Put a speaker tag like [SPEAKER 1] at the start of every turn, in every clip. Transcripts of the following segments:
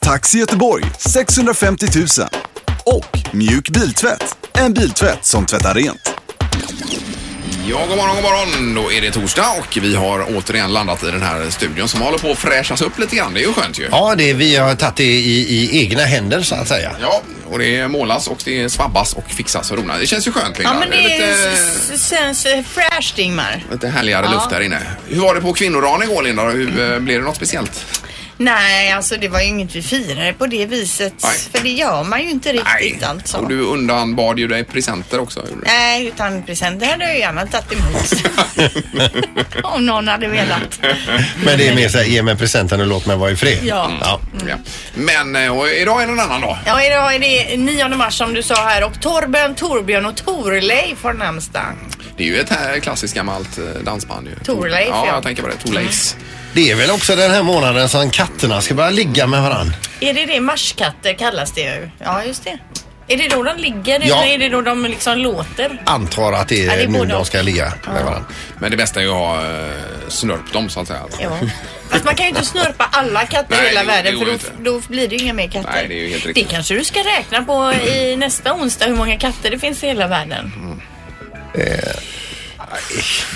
[SPEAKER 1] Taxi Göteborg 650 000. Och Mjuk Biltvätt, en biltvätt som tvättar rent.
[SPEAKER 2] Ja, god morgon, god morgon. Då är det torsdag och vi har återigen landat i den här studion som håller på att fräschas upp lite grann. Det är ju skönt ju.
[SPEAKER 3] Ja, det vi har tagit det i, i egna händer så att säga.
[SPEAKER 2] Ja, och det målas och det svabbas och fixas och donas. Det känns ju skönt Linda.
[SPEAKER 4] Ja, men det
[SPEAKER 2] är
[SPEAKER 4] s-
[SPEAKER 2] lite,
[SPEAKER 4] s- känns eh, fräscht Ingmar.
[SPEAKER 2] lite härligare luft här inne. Hur var det på kvinnodagen igår Linda? Hur, eh,
[SPEAKER 4] Mm.
[SPEAKER 2] Blev det något speciellt?
[SPEAKER 4] Nej, alltså det var ju inget vi firade på det viset.
[SPEAKER 2] Nej.
[SPEAKER 4] För det gör man ju inte riktigt alltså.
[SPEAKER 2] Och du undanbad ju dig presenter också. gjorde du?
[SPEAKER 4] Nej, utan presenter hade jag ju gärna tagit emot. Om någon hade velat.
[SPEAKER 3] Men det är mer så här, ge mig presenten och låt mig vara i fred.
[SPEAKER 4] Ja.
[SPEAKER 2] Ja. Men eh, och idag är det en annan dag.
[SPEAKER 4] Ja, idag är det 9 mars som du sa här och Torben, Torbjörn och Torleif har namnsdag.
[SPEAKER 2] Det är ju ett här klassiskt gammalt eh, dansband ju.
[SPEAKER 4] Torleif,
[SPEAKER 2] ja.
[SPEAKER 4] ja.
[SPEAKER 2] jag tänker på det. Torleifs.
[SPEAKER 3] Mm. Det är väl också den här månaden som katterna ska börja ligga med varann.
[SPEAKER 4] Är det det marskatter kallas det ju? Ja, just det. Är det då de ligger
[SPEAKER 3] Ja.
[SPEAKER 4] eller är det då de liksom låter?
[SPEAKER 3] Antar att det är,
[SPEAKER 4] Ja, det är
[SPEAKER 3] nu
[SPEAKER 4] både
[SPEAKER 3] de
[SPEAKER 4] och.
[SPEAKER 3] ska ligga med varann.
[SPEAKER 2] Men det bästa är ju att ha eh, snörpt dem så att säga.
[SPEAKER 4] Ja. Fast man kan ju inte snörpa alla katter
[SPEAKER 2] Nej,
[SPEAKER 4] i hela
[SPEAKER 2] det- det
[SPEAKER 4] världen
[SPEAKER 2] går
[SPEAKER 4] för då,
[SPEAKER 2] inte.
[SPEAKER 4] då blir det ju inga mer katter.
[SPEAKER 2] Nej, det är ju helt riktigt.
[SPEAKER 4] Det kanske du ska räkna på i nästa onsdag hur många katter det finns i hela världen.
[SPEAKER 2] Mm.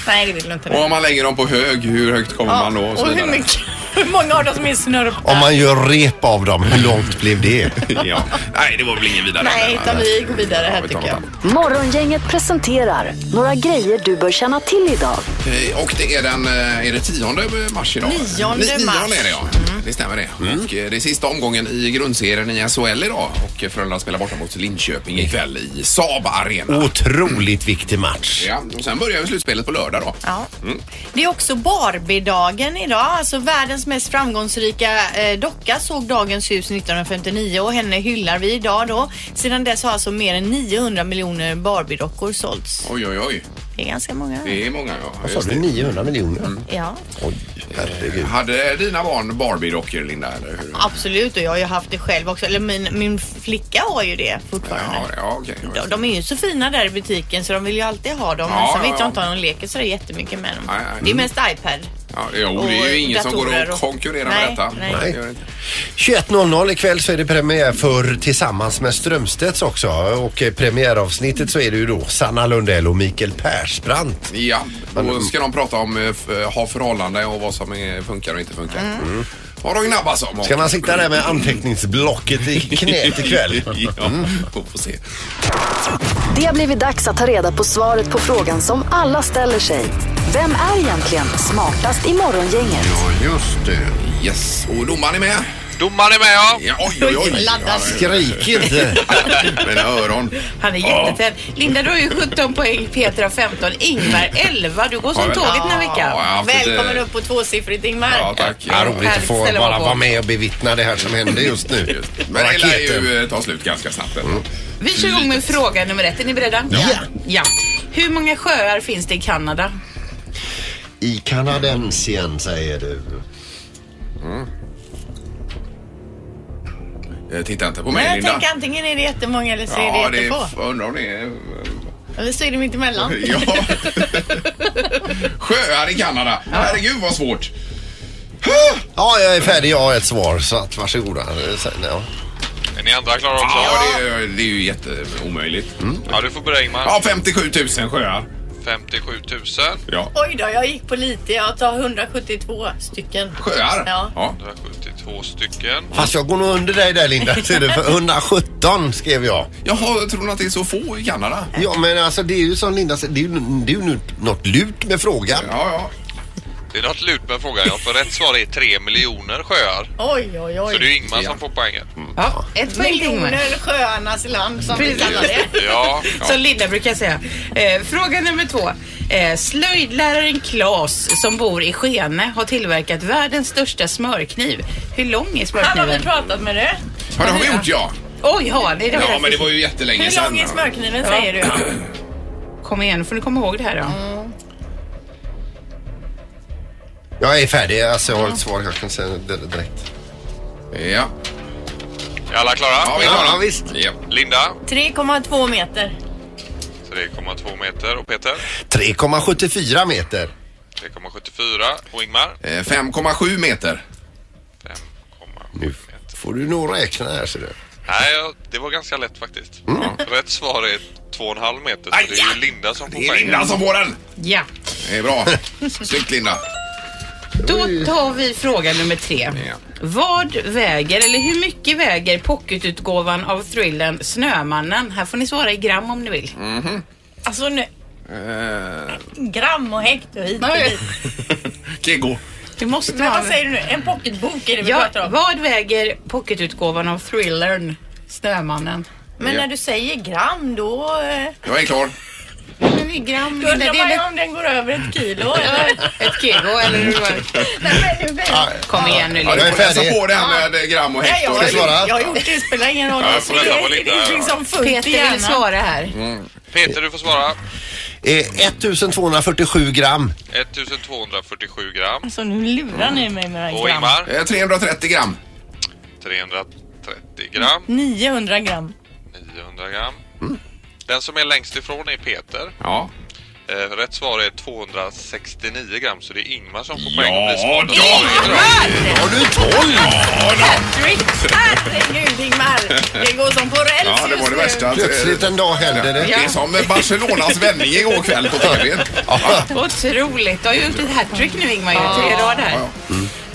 [SPEAKER 4] Nej, det vill du inte.
[SPEAKER 2] Eh. Och om man lägger dem på hög, hur högt kommer man då?
[SPEAKER 4] och hur, mycket, hur många av dem som är snörpta?
[SPEAKER 3] Om man gör rep av dem, hur långt blev det?
[SPEAKER 2] ja. Nej, det var väl ingen vidare.
[SPEAKER 4] Nej, utan vi går vidare här
[SPEAKER 2] vi tar
[SPEAKER 4] tycker jag.
[SPEAKER 2] något
[SPEAKER 5] Morgongänget presenterar några grejer du bör känna till idag.
[SPEAKER 2] Eh, Och det är den, eh, är det 10 mars idag?
[SPEAKER 4] Nionde
[SPEAKER 2] Ni-
[SPEAKER 4] mars. Mm.
[SPEAKER 2] Nionde är det ja. Det stämmer det.
[SPEAKER 3] Mm.
[SPEAKER 2] Och eh, det är sista omgången i grundserien i SHL idag. Och eh, Frölunda spelar borta mot Linköping ikväll i Saab Arena.
[SPEAKER 3] Otroligt viktig match.
[SPEAKER 2] Ja, och sen börjar ju slutspelet på lördag då. Mm.
[SPEAKER 4] Ja. Det är också Barbie-dagen idag. Alltså världens mest framgångsrika eh, docka såg dagens hus 1959 och henne hyllar vi idag då. Sedan dess har alltså mer än 900 miljoner Barbie-dockor sålts.
[SPEAKER 2] Oj, oj, oj.
[SPEAKER 4] Det är ganska många.
[SPEAKER 2] Det är många ja.
[SPEAKER 3] Sa
[SPEAKER 2] Just
[SPEAKER 3] du
[SPEAKER 2] det.
[SPEAKER 3] 900 miljoner?
[SPEAKER 4] Ja.
[SPEAKER 3] Oj, herregud.
[SPEAKER 2] Hade dina barn Barbie-dockor, Linda? Eller hur?
[SPEAKER 4] Absolut och jag har ju haft det själv också. Eller min, min flicka har ju det fortfarande.
[SPEAKER 2] Ja, ja okej.
[SPEAKER 4] De, de är ju så fina där i butiken så de vill ju alltid ha dem.
[SPEAKER 2] Ja,
[SPEAKER 4] Men sen
[SPEAKER 2] ja,
[SPEAKER 4] vet
[SPEAKER 2] ja.
[SPEAKER 4] jag inte om de leker så jättemycket med dem.
[SPEAKER 2] Nej, nej.
[SPEAKER 4] Det är mest iPad.
[SPEAKER 2] Ja, jo, det är ju
[SPEAKER 4] Och
[SPEAKER 2] ingen som går
[SPEAKER 4] datorer
[SPEAKER 2] att
[SPEAKER 4] och-
[SPEAKER 2] konkurrera
[SPEAKER 4] Nej,
[SPEAKER 2] med detta.
[SPEAKER 4] nej.
[SPEAKER 2] Det gör det inte.
[SPEAKER 3] 21.00 ikväll så är det premiär för Tillsammans med Strömstedts också och eh, premiäravsnittet så är det ju då Sanna Lundell och Mikael Persbrandt.
[SPEAKER 2] Ja, då ska de prata om eh, f- eh, ha förhållande och vad som eh, funkar och inte funkar. Mm. Har de gnabbats om.
[SPEAKER 3] Ska man sitta där med anteckningsblocket i knät ikväll? Mm.
[SPEAKER 2] ja, vi får se.
[SPEAKER 5] Det har blivit dags att ta reda på svaret på frågan som alla ställer sig. Vem är egentligen smartast i morgongänget?
[SPEAKER 3] Just det.
[SPEAKER 2] Yes, och domaren är med.
[SPEAKER 6] Domaren är med ja.
[SPEAKER 2] Ja, oj, oj, oj.
[SPEAKER 4] Laddas.
[SPEAKER 2] Ja,
[SPEAKER 3] Skrik inte.
[SPEAKER 2] Mina öron.
[SPEAKER 4] Han är jättetät. Linda, du har ju 17 poäng, Peter har 15, Ingmar 11. Du går som
[SPEAKER 2] Ja, men-
[SPEAKER 4] tåget den här veckan.
[SPEAKER 2] Ja, jag har haft lite-
[SPEAKER 4] Välkommen upp på tvåsiffrigt Ingmar.
[SPEAKER 2] Ja, tack.
[SPEAKER 3] Ja, roligt att få
[SPEAKER 4] Ställer
[SPEAKER 3] bara
[SPEAKER 4] man på.
[SPEAKER 3] vara med och bevittna det här som händer just nu.
[SPEAKER 2] Men det lär
[SPEAKER 3] Raketen.
[SPEAKER 2] ju eh, ta slut ganska snabbt.
[SPEAKER 3] Mm.
[SPEAKER 2] ändå.
[SPEAKER 7] Vi kör igång med fråga nummer ett. Är ni beredda?
[SPEAKER 3] Ja.
[SPEAKER 7] ja. Hur många sjöar finns det i Kanada?
[SPEAKER 3] I kanadensien säger du.
[SPEAKER 2] Mm. Eh, Titta inte på
[SPEAKER 4] Men
[SPEAKER 2] mig,
[SPEAKER 4] jag
[SPEAKER 2] Linda.
[SPEAKER 4] tänker antingen är det jättemånga eller så är
[SPEAKER 2] Ja,
[SPEAKER 4] det
[SPEAKER 2] det
[SPEAKER 4] jättefå.
[SPEAKER 2] är... Undrar om det är...
[SPEAKER 4] Eller så är det mittemellan.
[SPEAKER 2] Ja. Sjöar i Kanada. Herregud vad svårt.
[SPEAKER 3] Ja, jag är färdig. Jag har ett svar så att varsågoda. Eh, sen, Ja.
[SPEAKER 6] Är ni andra klara också? Mm.
[SPEAKER 2] Ja, det är, det är ju jätteomöjligt.
[SPEAKER 6] Ja, du får börja Ingmar.
[SPEAKER 2] Ja, 57 000 sjöar.
[SPEAKER 6] 57 000.
[SPEAKER 2] Ja.
[SPEAKER 4] Oj då, jag gick på lite. Jag tar 172 stycken.
[SPEAKER 2] Sjöar?
[SPEAKER 4] Ja.
[SPEAKER 2] ja.
[SPEAKER 6] 172 stycken.
[SPEAKER 3] Fast jag går nog under dig där Linda. Ser du? För 117 skrev jag.
[SPEAKER 2] Jaha, tror ni att det är så få i Kanada?
[SPEAKER 3] Ja men alltså det är ju som Linda säger. Det är ju, det är ju nu något lurt med frågan.
[SPEAKER 2] Ja, ja.
[SPEAKER 6] Det är något lurt med frågan. Ja, för rätt svar är 3 miljoner sjöar.
[SPEAKER 4] Oj, oj,
[SPEAKER 6] Så det är
[SPEAKER 4] oj.
[SPEAKER 6] ju Ingmar som får poängen.
[SPEAKER 7] Ja. Ett poäng till Ingmar.
[SPEAKER 4] Miljoner sjöarnas land som vi kallar det.
[SPEAKER 6] Ja,
[SPEAKER 7] Som Linda brukar säga. Eh, fråga nummer två. Eh, slöjdläraren Klas som bor i Skene har tillverkat världens största smörkniv. Hur lång är
[SPEAKER 4] Han har väl
[SPEAKER 7] smörkniven?
[SPEAKER 4] pratat med det?
[SPEAKER 2] Har de gjort ja?
[SPEAKER 7] Oj, har ni det?
[SPEAKER 2] Ja, men det var ju jättelänge
[SPEAKER 4] Hur
[SPEAKER 2] sedan.
[SPEAKER 4] lång är smörkniven säger du?
[SPEAKER 7] Kom igen, nu får ni komma ihåg det här då.
[SPEAKER 3] Jag är färdig. Alltså, jag har ett svar. Jag kan säga det direkt.
[SPEAKER 2] Ja.
[SPEAKER 6] Är alla klara?
[SPEAKER 2] Ja, vi är klara.
[SPEAKER 3] Ja, visst.
[SPEAKER 2] Ja.
[SPEAKER 6] Linda,
[SPEAKER 4] 3,2 meter.
[SPEAKER 6] 3,2 meter och Peter
[SPEAKER 3] 3,74 meter.
[SPEAKER 6] 3,74 och Ingmar
[SPEAKER 2] Eh, 5,7 meter.
[SPEAKER 6] 5,7
[SPEAKER 3] Nu
[SPEAKER 6] meter.
[SPEAKER 3] får du nog räkna här ser du.
[SPEAKER 6] Nej, ja, det var ganska lätt faktiskt.
[SPEAKER 3] Mm.
[SPEAKER 6] Rätt svar är 2,5 meter. Så
[SPEAKER 2] Aj,
[SPEAKER 6] det är ju
[SPEAKER 2] ja.
[SPEAKER 6] Linda som får
[SPEAKER 2] Det är Linda som får den.
[SPEAKER 7] Ja.
[SPEAKER 2] Det är bra. Snyggt Linda.
[SPEAKER 7] Då tar vi fråga nummer tre. Vad väger, eller hur mycket väger pocketutgåvan av thrillern Snömannen? Här får ni svara i gram om ni vill.
[SPEAKER 3] Mhm.
[SPEAKER 4] Alltså nu...
[SPEAKER 3] Eh.
[SPEAKER 4] Gram och hekt och hit och
[SPEAKER 7] Nej.
[SPEAKER 4] dit.
[SPEAKER 2] Kego.
[SPEAKER 7] Det måste
[SPEAKER 4] Men
[SPEAKER 7] vara...
[SPEAKER 4] vad säger du nu? En pocketbok är det vi
[SPEAKER 7] Ja,
[SPEAKER 4] pratar om.
[SPEAKER 7] vad väger pocketutgåvan av thrillern Snömannen?
[SPEAKER 4] Men
[SPEAKER 2] Ja.
[SPEAKER 4] när du säger gram då... eh,
[SPEAKER 2] Jag är klar.
[SPEAKER 7] I gram?
[SPEAKER 4] Då undrar man ju om den går över ett kilo. eller?
[SPEAKER 7] Ett kilo eller hur var det?
[SPEAKER 4] Nej, men nu blir-
[SPEAKER 3] Ja,
[SPEAKER 7] Kom igen nu
[SPEAKER 3] jag
[SPEAKER 7] Linda.
[SPEAKER 3] är
[SPEAKER 2] Får läsa
[SPEAKER 3] färdig.
[SPEAKER 2] Alltså, på det här med eh, gram och
[SPEAKER 4] Nej,
[SPEAKER 2] hektar.
[SPEAKER 4] jag,
[SPEAKER 3] Ska jag svara?
[SPEAKER 4] jag har gjort det, det spelar ingen roll.
[SPEAKER 6] Ja, jag får
[SPEAKER 4] Det-
[SPEAKER 6] vänta på
[SPEAKER 4] det
[SPEAKER 6] lite
[SPEAKER 4] är
[SPEAKER 6] här, Mm.
[SPEAKER 4] liksom fullt i
[SPEAKER 7] Peter
[SPEAKER 4] hjärnan.
[SPEAKER 7] vill svara här.
[SPEAKER 6] Peter, du får svara.
[SPEAKER 3] Eh, 1247 gram.
[SPEAKER 6] 1247 gram.
[SPEAKER 4] Alltså nu lurar ni mig med
[SPEAKER 6] Och
[SPEAKER 4] den här gram.
[SPEAKER 6] Ingmar
[SPEAKER 2] Eh, 330 gram.
[SPEAKER 6] 330 gram.
[SPEAKER 4] 900 gram.
[SPEAKER 6] 900 gram. Den som är längst ifrån är Peter.
[SPEAKER 2] Mm. Ja.
[SPEAKER 6] Eh, Rätt svar är 269 gram, så det är Ingmar som får poäng och
[SPEAKER 2] Ja,
[SPEAKER 6] blir smartast.
[SPEAKER 2] då! Har du 12? Ja, då.
[SPEAKER 4] Patrick! Herregud Ingmar! Det går som på räls
[SPEAKER 2] Ja, det var
[SPEAKER 4] just
[SPEAKER 2] det
[SPEAKER 4] nu.
[SPEAKER 2] värsta.
[SPEAKER 3] Plötsligt en dag händer
[SPEAKER 2] Det
[SPEAKER 3] det.
[SPEAKER 2] är som Barcelonas vändning igår kväll på tv.
[SPEAKER 3] Ja.
[SPEAKER 7] Otroligt. Du har ju gjort ett hattrick nu Ingmar. ju. Tre rader.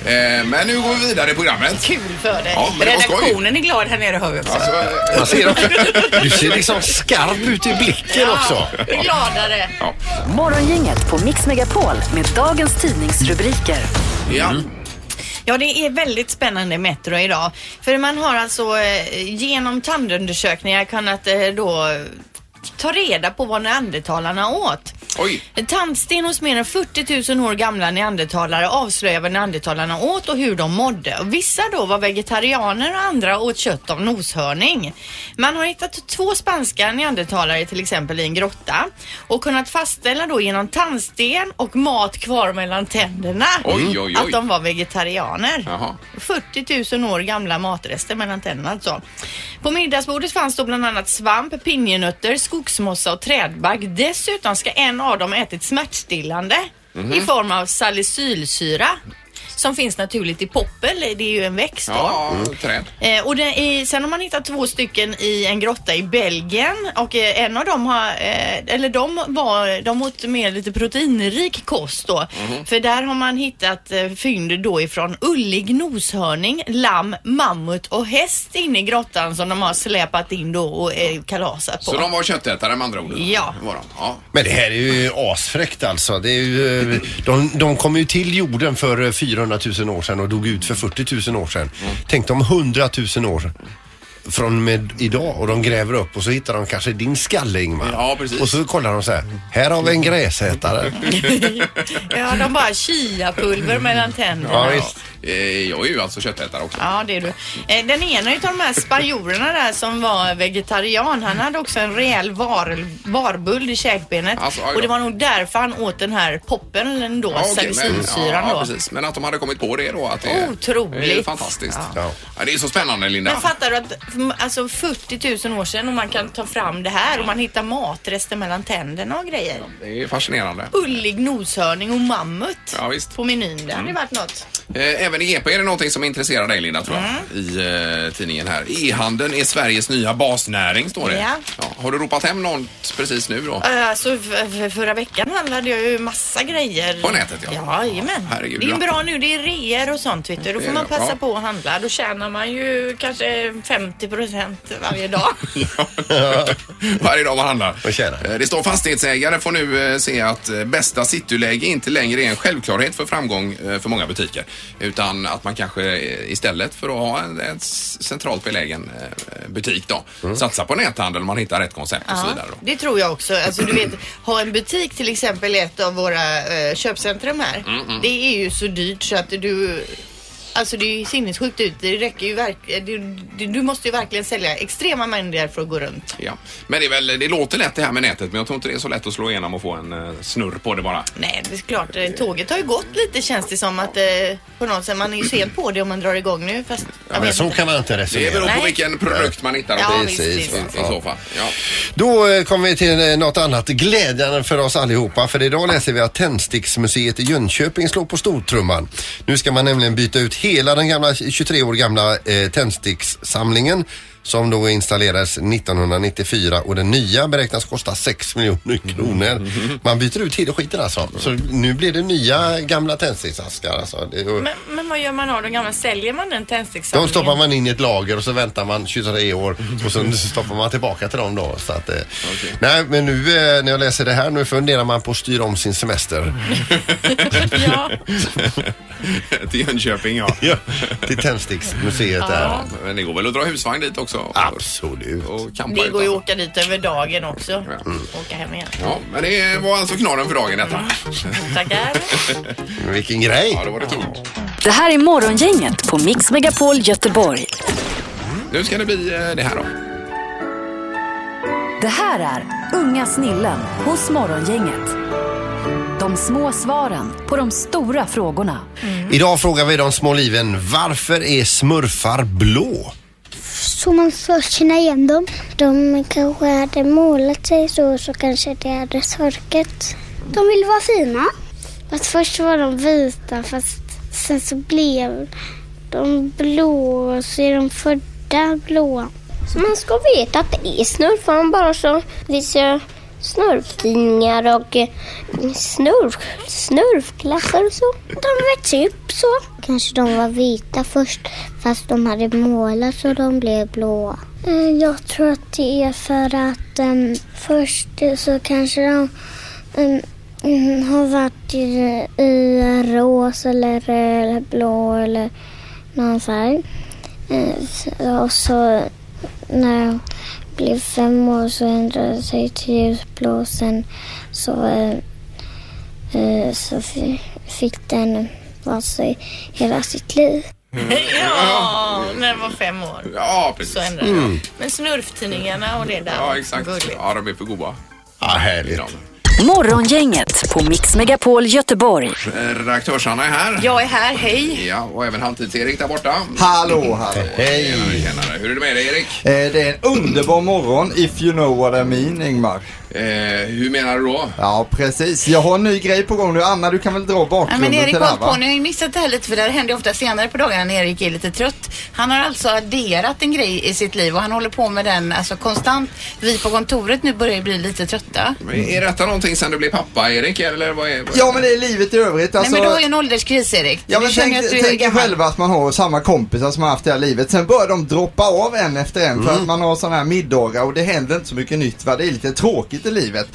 [SPEAKER 2] Eh, Men nu går vi vidare i programmet.
[SPEAKER 4] Kul för dig.
[SPEAKER 2] Ja, men det var skoj.
[SPEAKER 7] Redaktionen är glad här nere hör vi också.
[SPEAKER 2] Alltså, eh,
[SPEAKER 3] Man ser också, du ser liksom skarp ut i blicken också.
[SPEAKER 4] Vi är gladare.
[SPEAKER 5] Morgongänget på Mix Megapol med dagens tidningsrubriker.
[SPEAKER 2] Ja.
[SPEAKER 4] Ja, det är väldigt spännande Metro idag. För man har alltså eh, genom tandundersökningar kunnat eh, då eh, ta reda på vad neandertalarna åt.
[SPEAKER 2] Oj.
[SPEAKER 4] Tandsten hos mer än 40 000 år gamla neandertalare avslöjar vad neandertalarna åt och hur de mådde. Och vissa då var vegetarianer och andra åt kött av noshörning. Man har hittat två spanska neandertalare till exempel i en grotta och kunnat fastställa då genom tandsten och mat kvar mellan tänderna
[SPEAKER 2] Oj, oj, oj.
[SPEAKER 4] att de var vegetarianer.
[SPEAKER 2] Jaha.
[SPEAKER 4] 40 000 år gamla matrester mellan tänderna alltså. På middagsbordet fanns då bland annat svamp, pinjenötter, skogsmossa och trädbark. Dessutom ska en av dem ha ätit smärtstillande
[SPEAKER 2] Mhm.
[SPEAKER 4] i form av salicylsyra som finns naturligt i poppel. Det är ju en växt då.
[SPEAKER 2] Ja, Mm. träd.
[SPEAKER 4] Eh, och den är, sen har man hittat två stycken i en grotta i Belgien och eh, en av dem har, eh, eller de var, de åt mer lite proteinrik kost då.
[SPEAKER 2] Mhm.
[SPEAKER 4] För där har man hittat eh, fynd då ifrån ullig noshörning, lamm, mammut och häst inne i grottan som de har släpat in då och eh, kalasat på.
[SPEAKER 2] Så de var köttätare med andra ord?
[SPEAKER 4] Ja.
[SPEAKER 2] Var de? ja.
[SPEAKER 3] Men det här är ju asfräckt alltså. Det är ju, eh, de, de kom ju till jorden för eh, 400 000 år sedan och dog ut för 40 000 år sedan.
[SPEAKER 2] Mm.
[SPEAKER 3] Tänk om 100 000 år från med idag och de gräver upp och så hittar de kanske din skalle Ingmar.
[SPEAKER 2] Ja, precis.
[SPEAKER 3] Och så kollar de så här. Här har vi en gräsätare.
[SPEAKER 4] Ja, de bara chiapulver mellan tänderna.
[SPEAKER 3] Ja, visst.
[SPEAKER 2] Eh, Jag är ju alltså köttätare också.
[SPEAKER 4] Ja, det är du. Eh, Den ena utav de här spanjorerna där som var vegetarian, han hade också en rejäl var, varböld i käkbenet.
[SPEAKER 2] Alltså, aj då.
[SPEAKER 4] och det var nog därför han åt den här poppeln då,
[SPEAKER 2] okej, men-
[SPEAKER 4] salicylsyran
[SPEAKER 2] ja,
[SPEAKER 4] då.
[SPEAKER 2] precis. Men att de hade kommit på det då. Att det,
[SPEAKER 4] Otroligt.
[SPEAKER 2] Det är fantastiskt. Ja.
[SPEAKER 3] Ja.
[SPEAKER 2] det är så spännande Linda.
[SPEAKER 4] Men fattar du att f- alltså 40 000 år sedan och man kan ta fram det här och man hittar matrester mellan tänderna och grejer.
[SPEAKER 2] Det är fascinerande.
[SPEAKER 4] Ullig noshörning och mammut
[SPEAKER 2] Ja, visst.
[SPEAKER 4] på menyn. Det hade varit något.
[SPEAKER 2] Eh, Även i GP är det någonting som intresserar dig Linda tror jag.
[SPEAKER 4] Mm.
[SPEAKER 2] I eh, tidningen här. E-handeln är Sveriges nya basnäring står det.
[SPEAKER 4] Ja.
[SPEAKER 2] Har du ropat hem något precis nu då?
[SPEAKER 4] Eh, Alltså f- f- förra veckan handlade jag ju massa grejer.
[SPEAKER 2] På nätet, ja.
[SPEAKER 4] Ja, jajamän.
[SPEAKER 2] Herregud,
[SPEAKER 4] det är ju
[SPEAKER 2] ja.
[SPEAKER 4] bra nu. Det är reor och sånt vet du. Då
[SPEAKER 2] Det
[SPEAKER 4] får
[SPEAKER 2] är
[SPEAKER 4] man
[SPEAKER 2] det,
[SPEAKER 4] passa
[SPEAKER 2] ja.
[SPEAKER 4] på att handla. Då tjänar man ju kanske 50 procent varje dag.
[SPEAKER 2] Varje dag man handlar.
[SPEAKER 3] Vad tjänar du?
[SPEAKER 2] Eh, Det står fastighetsägare får nu eh, se att eh, bästa cityläge inte längre är en självklarhet för framgång eh, för många butiker. Utan att man kanske eh, istället för att ha en, en s- centralt belägen eh, butik då,
[SPEAKER 3] Mm.
[SPEAKER 2] satsa på näthandel om man hittar rätt koncept och så vidare. Då.
[SPEAKER 4] det tror jag också. Alltså, du vet, ha en butik till
[SPEAKER 2] Mm,
[SPEAKER 4] exempel i ett av våra eh, köpcentrum här. Det är ju så dyrt så att du Alltså det är ju sinnessjukt ut. Det räcker ju verk- eh, du, du, du måste ju verkligen sälja extrema mängder för att gå runt.
[SPEAKER 2] Ja. Men det, är väl, det låter lätt det här med nätet men jag tror inte det är så lätt att slå igenom och få en eh, snurr på det bara.
[SPEAKER 4] Nej, det är klart. eh, Tåget har ju gått lite känns det som att eh, på något sätt. Man är ju sen på det om man drar igång nu. Fast jag
[SPEAKER 3] Men
[SPEAKER 4] vet
[SPEAKER 3] så
[SPEAKER 4] inte.
[SPEAKER 3] kan man inte
[SPEAKER 2] Det beror
[SPEAKER 3] resonera.
[SPEAKER 2] på
[SPEAKER 4] Nej.
[SPEAKER 2] vilken produkt man hittar.
[SPEAKER 4] Ja,
[SPEAKER 2] i-
[SPEAKER 4] visst,
[SPEAKER 2] i-
[SPEAKER 4] visst.
[SPEAKER 2] I så fall. Ja.
[SPEAKER 3] Då eh, kommer vi till eh, något annat glädjande för oss allihopa för idag läser vi att Tändsticksmuseet i Jönköping slår på stortrumman. Nu ska man nämligen byta ut hela den gamla 23 år gamla eh, tändstickssamlingen som då installerades 1994 och den nya beräknas kosta 6 miljoner kronor. Man byter ut hela skiten alltså. Så nu blir det nya gamla tändsticksaskar alltså. Det, och,
[SPEAKER 7] Men, men vad gör man av de gamla? Säljer man den
[SPEAKER 3] de
[SPEAKER 7] tändstickssamlingen?
[SPEAKER 3] stoppar man in i ett lager och så väntar man 23 år och sen stoppar man tillbaka till dem då. Så att, eh, Nej, men nu eh, när jag läser det här nu funderar man på att styra om sin semester
[SPEAKER 7] Mm. Ja.
[SPEAKER 2] Till Jönköping ja.
[SPEAKER 3] till Tändsticksmuseet där.
[SPEAKER 2] Men det går väl att dra husvagn dit också?
[SPEAKER 3] Absolut.
[SPEAKER 2] Och campa
[SPEAKER 4] Det går ju att
[SPEAKER 2] utanför.
[SPEAKER 4] åka dit över dagen också. Åka hem igen.
[SPEAKER 2] Ja, men det var alltså knorren för dagen detta.
[SPEAKER 4] Tackar.
[SPEAKER 3] Vilken grej.
[SPEAKER 2] Ja, då var det tungt.
[SPEAKER 5] Det här är Morgongänget på Mix Megapol Göteborg.
[SPEAKER 2] Nu ska det bli eh, det här då.
[SPEAKER 5] Det här är Unga snillen hos Morgongänget. De små svaren på de stora frågorna.
[SPEAKER 3] Idag frågar vi de små liven varför är smurfar blå?
[SPEAKER 8] Så man först känner igen dem. De kanske hade målat sig så, så kanske det hade torkat. De ville vara fina. Att först var de vita, fast sen så blev de blå och så är de födda blåa. Så man ska veta att det är snurfan bara så vissa snurftidningar och eh, snurf, snurfklasser och så. De växte upp så. Kanske de var vita först fast de hade målat så de blev blåa. Eh, Jag tror att det är för att ehm, först så kanske de ehm, mm, har varit i, eh, i rosa eller röd eller blå eller någon färg. Eh, Och så när de blev fem år så ändrade det sig till ljusblå och sen så, eh, eh, så fi- fick den vara sig hela sitt liv.
[SPEAKER 4] Ja, när jag var fem år.
[SPEAKER 2] Ja,
[SPEAKER 4] Så
[SPEAKER 2] precis. Mm.
[SPEAKER 4] ändrade jag. Men snurftidningarna och det där.
[SPEAKER 2] Ja, exakt.
[SPEAKER 4] Gulligt.
[SPEAKER 2] Ja, de är för goda.
[SPEAKER 3] Ja, härligt.
[SPEAKER 2] Ja.
[SPEAKER 5] Morgongänget på Mix Megapol Göteborg.
[SPEAKER 2] Eh, Redaktörs-Anna är här.
[SPEAKER 7] Jag är här, hej.
[SPEAKER 2] Ja, och även Halvtids-Erik där borta.
[SPEAKER 9] Hallå, hallå.
[SPEAKER 3] Hej.
[SPEAKER 2] Tjenare. Hur är det med dig, Erik?
[SPEAKER 9] Eh, det är en underbar morgon, if you know what I mean, Ingmar.
[SPEAKER 2] Eh, hur menar du då?
[SPEAKER 9] Ja, precis. Jag har en ny grej på gång nu. Anna, du kan väl dra
[SPEAKER 7] Ja,
[SPEAKER 9] bakgrunden
[SPEAKER 7] men Erik
[SPEAKER 9] till det
[SPEAKER 7] har
[SPEAKER 9] här,
[SPEAKER 7] på,
[SPEAKER 9] va?
[SPEAKER 7] ni har ju missat det här lite för det här händer ju ofta senare på dagarna när Erik är lite trött. Han har alltså adderat en grej i sitt liv och han håller på med den alltså konstant. Vi på kontoret nu börjar ju bli lite trötta.
[SPEAKER 2] Men Är detta någonting sen du blev pappa, Erik? Eller vad är, vad är...
[SPEAKER 9] Ja, men det är livet i övrigt. Alltså...
[SPEAKER 7] Nej men du har ju en ålderskris Erik.
[SPEAKER 9] Ja,
[SPEAKER 7] du
[SPEAKER 9] men
[SPEAKER 7] känner
[SPEAKER 9] tänk
[SPEAKER 7] att du är
[SPEAKER 9] tänk er
[SPEAKER 7] gammal.
[SPEAKER 9] själva att man har samma kompisar som man haft hela livet. Sen börjar de droppa av en efter en för att man har sådana här middagar och det händer inte så mycket nytt. Va? Det är lite tråkigt i livet.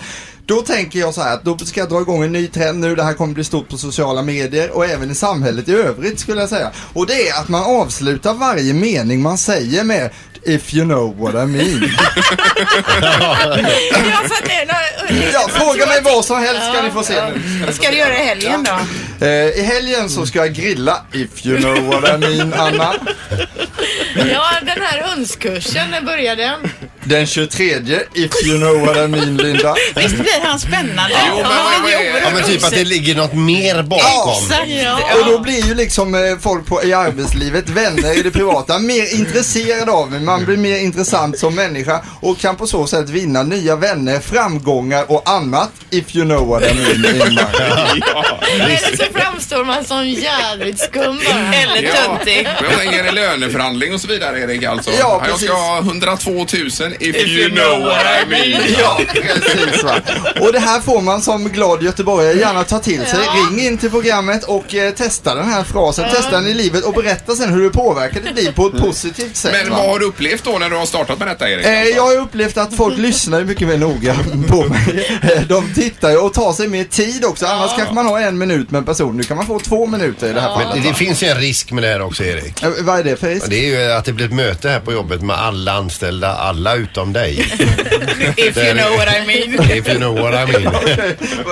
[SPEAKER 9] Då tänker jag så här att då ska jag dra igång en ny trend nu. Det här kommer bli stort på sociala medier och även i samhället i övrigt skulle jag säga. Och det är att man avslutar varje mening man säger med If you know what I mean.
[SPEAKER 7] Ja, för att det är några-
[SPEAKER 9] ja, fråga mig vad som helst ska ni få se nu.
[SPEAKER 7] Vad ska du göra i helgen då?
[SPEAKER 9] Eh, I helgen så ska jag grilla If you know what I mean, Anna.
[SPEAKER 4] Ja, den här hönskursen, när började den?
[SPEAKER 9] Den 23, if you know what I mean Linda.
[SPEAKER 7] Visst blir han spännande?
[SPEAKER 2] Jo, men vad- vad är-
[SPEAKER 3] Ja, men typ att det ligger något mer bakom.
[SPEAKER 7] Exakt. Ja.
[SPEAKER 9] Och då blir ju liksom eh, folk på, i arbetslivet, vänner i det privata, mer intresserade av mig. Man blir mer intressant som människa och kan på så sätt vinna nya vänner, framgångar och annat. If you know what I mean Ingmar.
[SPEAKER 4] Eller så framstår man som jävligt skum bara.
[SPEAKER 7] Eller töntig.
[SPEAKER 2] Men jag tänker löneförhandling och så vidare Erik alltså.
[SPEAKER 9] Ja,
[SPEAKER 2] jag
[SPEAKER 9] precis.
[SPEAKER 2] ska ha 102 000 if, you know what I mean.
[SPEAKER 9] Ja, precis va. Och det här får man som glad göteborgare gärna ta till sig. Ring in till programmet och eh, testa den här frasen. Testa den i livet och berätta sen hur det påverkar ditt liv på ett positivt sätt.
[SPEAKER 2] Men
[SPEAKER 9] va?
[SPEAKER 2] vad har du upplevt då när du har startat med detta Erik?
[SPEAKER 9] Eh, jag har upplevt att folk lyssnar ju mycket mer noga på mig. Eh, De tittar ju och tar sig mer tid också. Annars kanske man har en minut med en person. Nu kan man få två minuter i det här fallet.
[SPEAKER 3] Men det finns ju en risk med det här också Erik.
[SPEAKER 9] Eh, Vad är det för risk?
[SPEAKER 3] Ja, Det är ju att det blir ett möte här på jobbet med alla anställda, alla utom dig.
[SPEAKER 7] If you know what I mean.
[SPEAKER 3] If you know what I mean.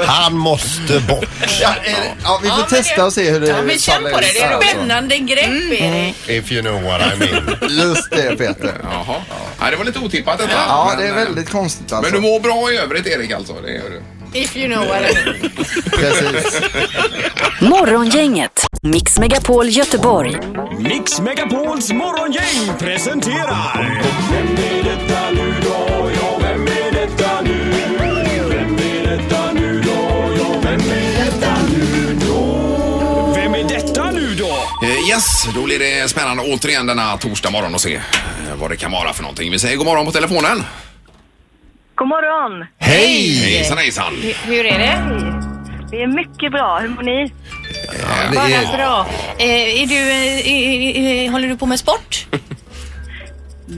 [SPEAKER 3] Han måste bort.
[SPEAKER 9] Ja, eh, ja, vi får testa och se hur det
[SPEAKER 4] Ja, men känn på det. Det är ett spännande grepp,
[SPEAKER 2] Mm.
[SPEAKER 4] Erik.
[SPEAKER 3] If you know what I mean.
[SPEAKER 9] Just det Peter.
[SPEAKER 2] Jaha. Ja, det var lite otippat detta.
[SPEAKER 9] Ja, det är
[SPEAKER 2] eh,
[SPEAKER 9] väldigt konstigt alltså.
[SPEAKER 2] Men du mår bra i övrigt Erik alltså? Det gör du.
[SPEAKER 4] If you know what I mean.
[SPEAKER 9] Precis.
[SPEAKER 5] Morgongänget, Mix Megapol Göteborg.
[SPEAKER 10] Mix Megapols morgongäng presenterar... Vem är detta nu då? Ja, vem är detta nu? Vem är detta nu då? Ja, vem är detta nu då? Vem är detta nu då?
[SPEAKER 2] Eh, Yes, då blir det spännande återigen denna torsdag morgon och se eh, vad det kan vara för någonting. Vi säger god morgon på telefonen.
[SPEAKER 11] God morgon!
[SPEAKER 2] Hej! Hejsan hejsan!
[SPEAKER 4] Hur är det?
[SPEAKER 11] Det är mycket bra. Hur mår ni?
[SPEAKER 4] Bara bra. Eh, är du, eh, eh, eh, håller du på med sport?